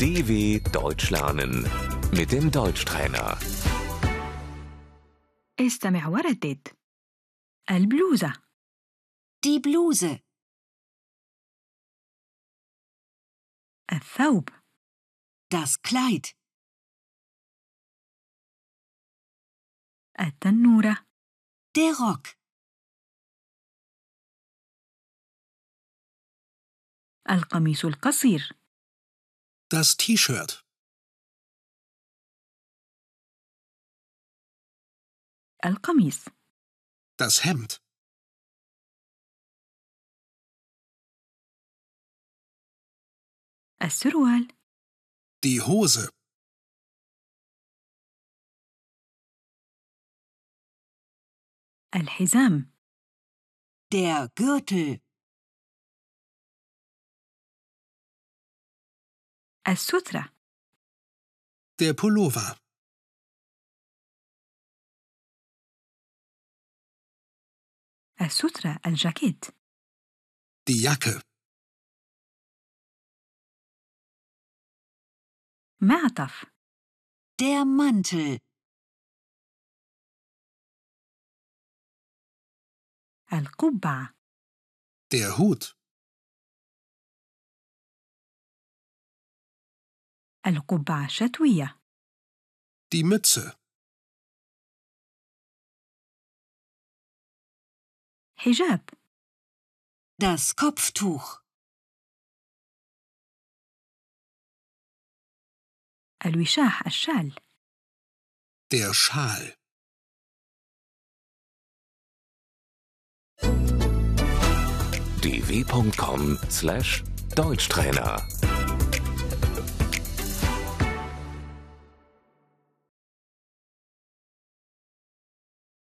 DW Deutsch lernen mit dem Deutschtrainer. استمع وردد البلوزة Die Bluse, الثوب das Kleid, التنورة der Rock, القميص القصير Das T-Shirt. القميص Das Hemd. السروال Die Hose. الحزام der Gürtel, السترة Der Pullover. السترة الجاكيت Die Jacke. معطف der Mantel, القبعة Der Hut. القبعة الشتوية Die Mütze. حجاب das Kopftuch, الوشاح الشال Der Schal. dw.com/deutschtrainer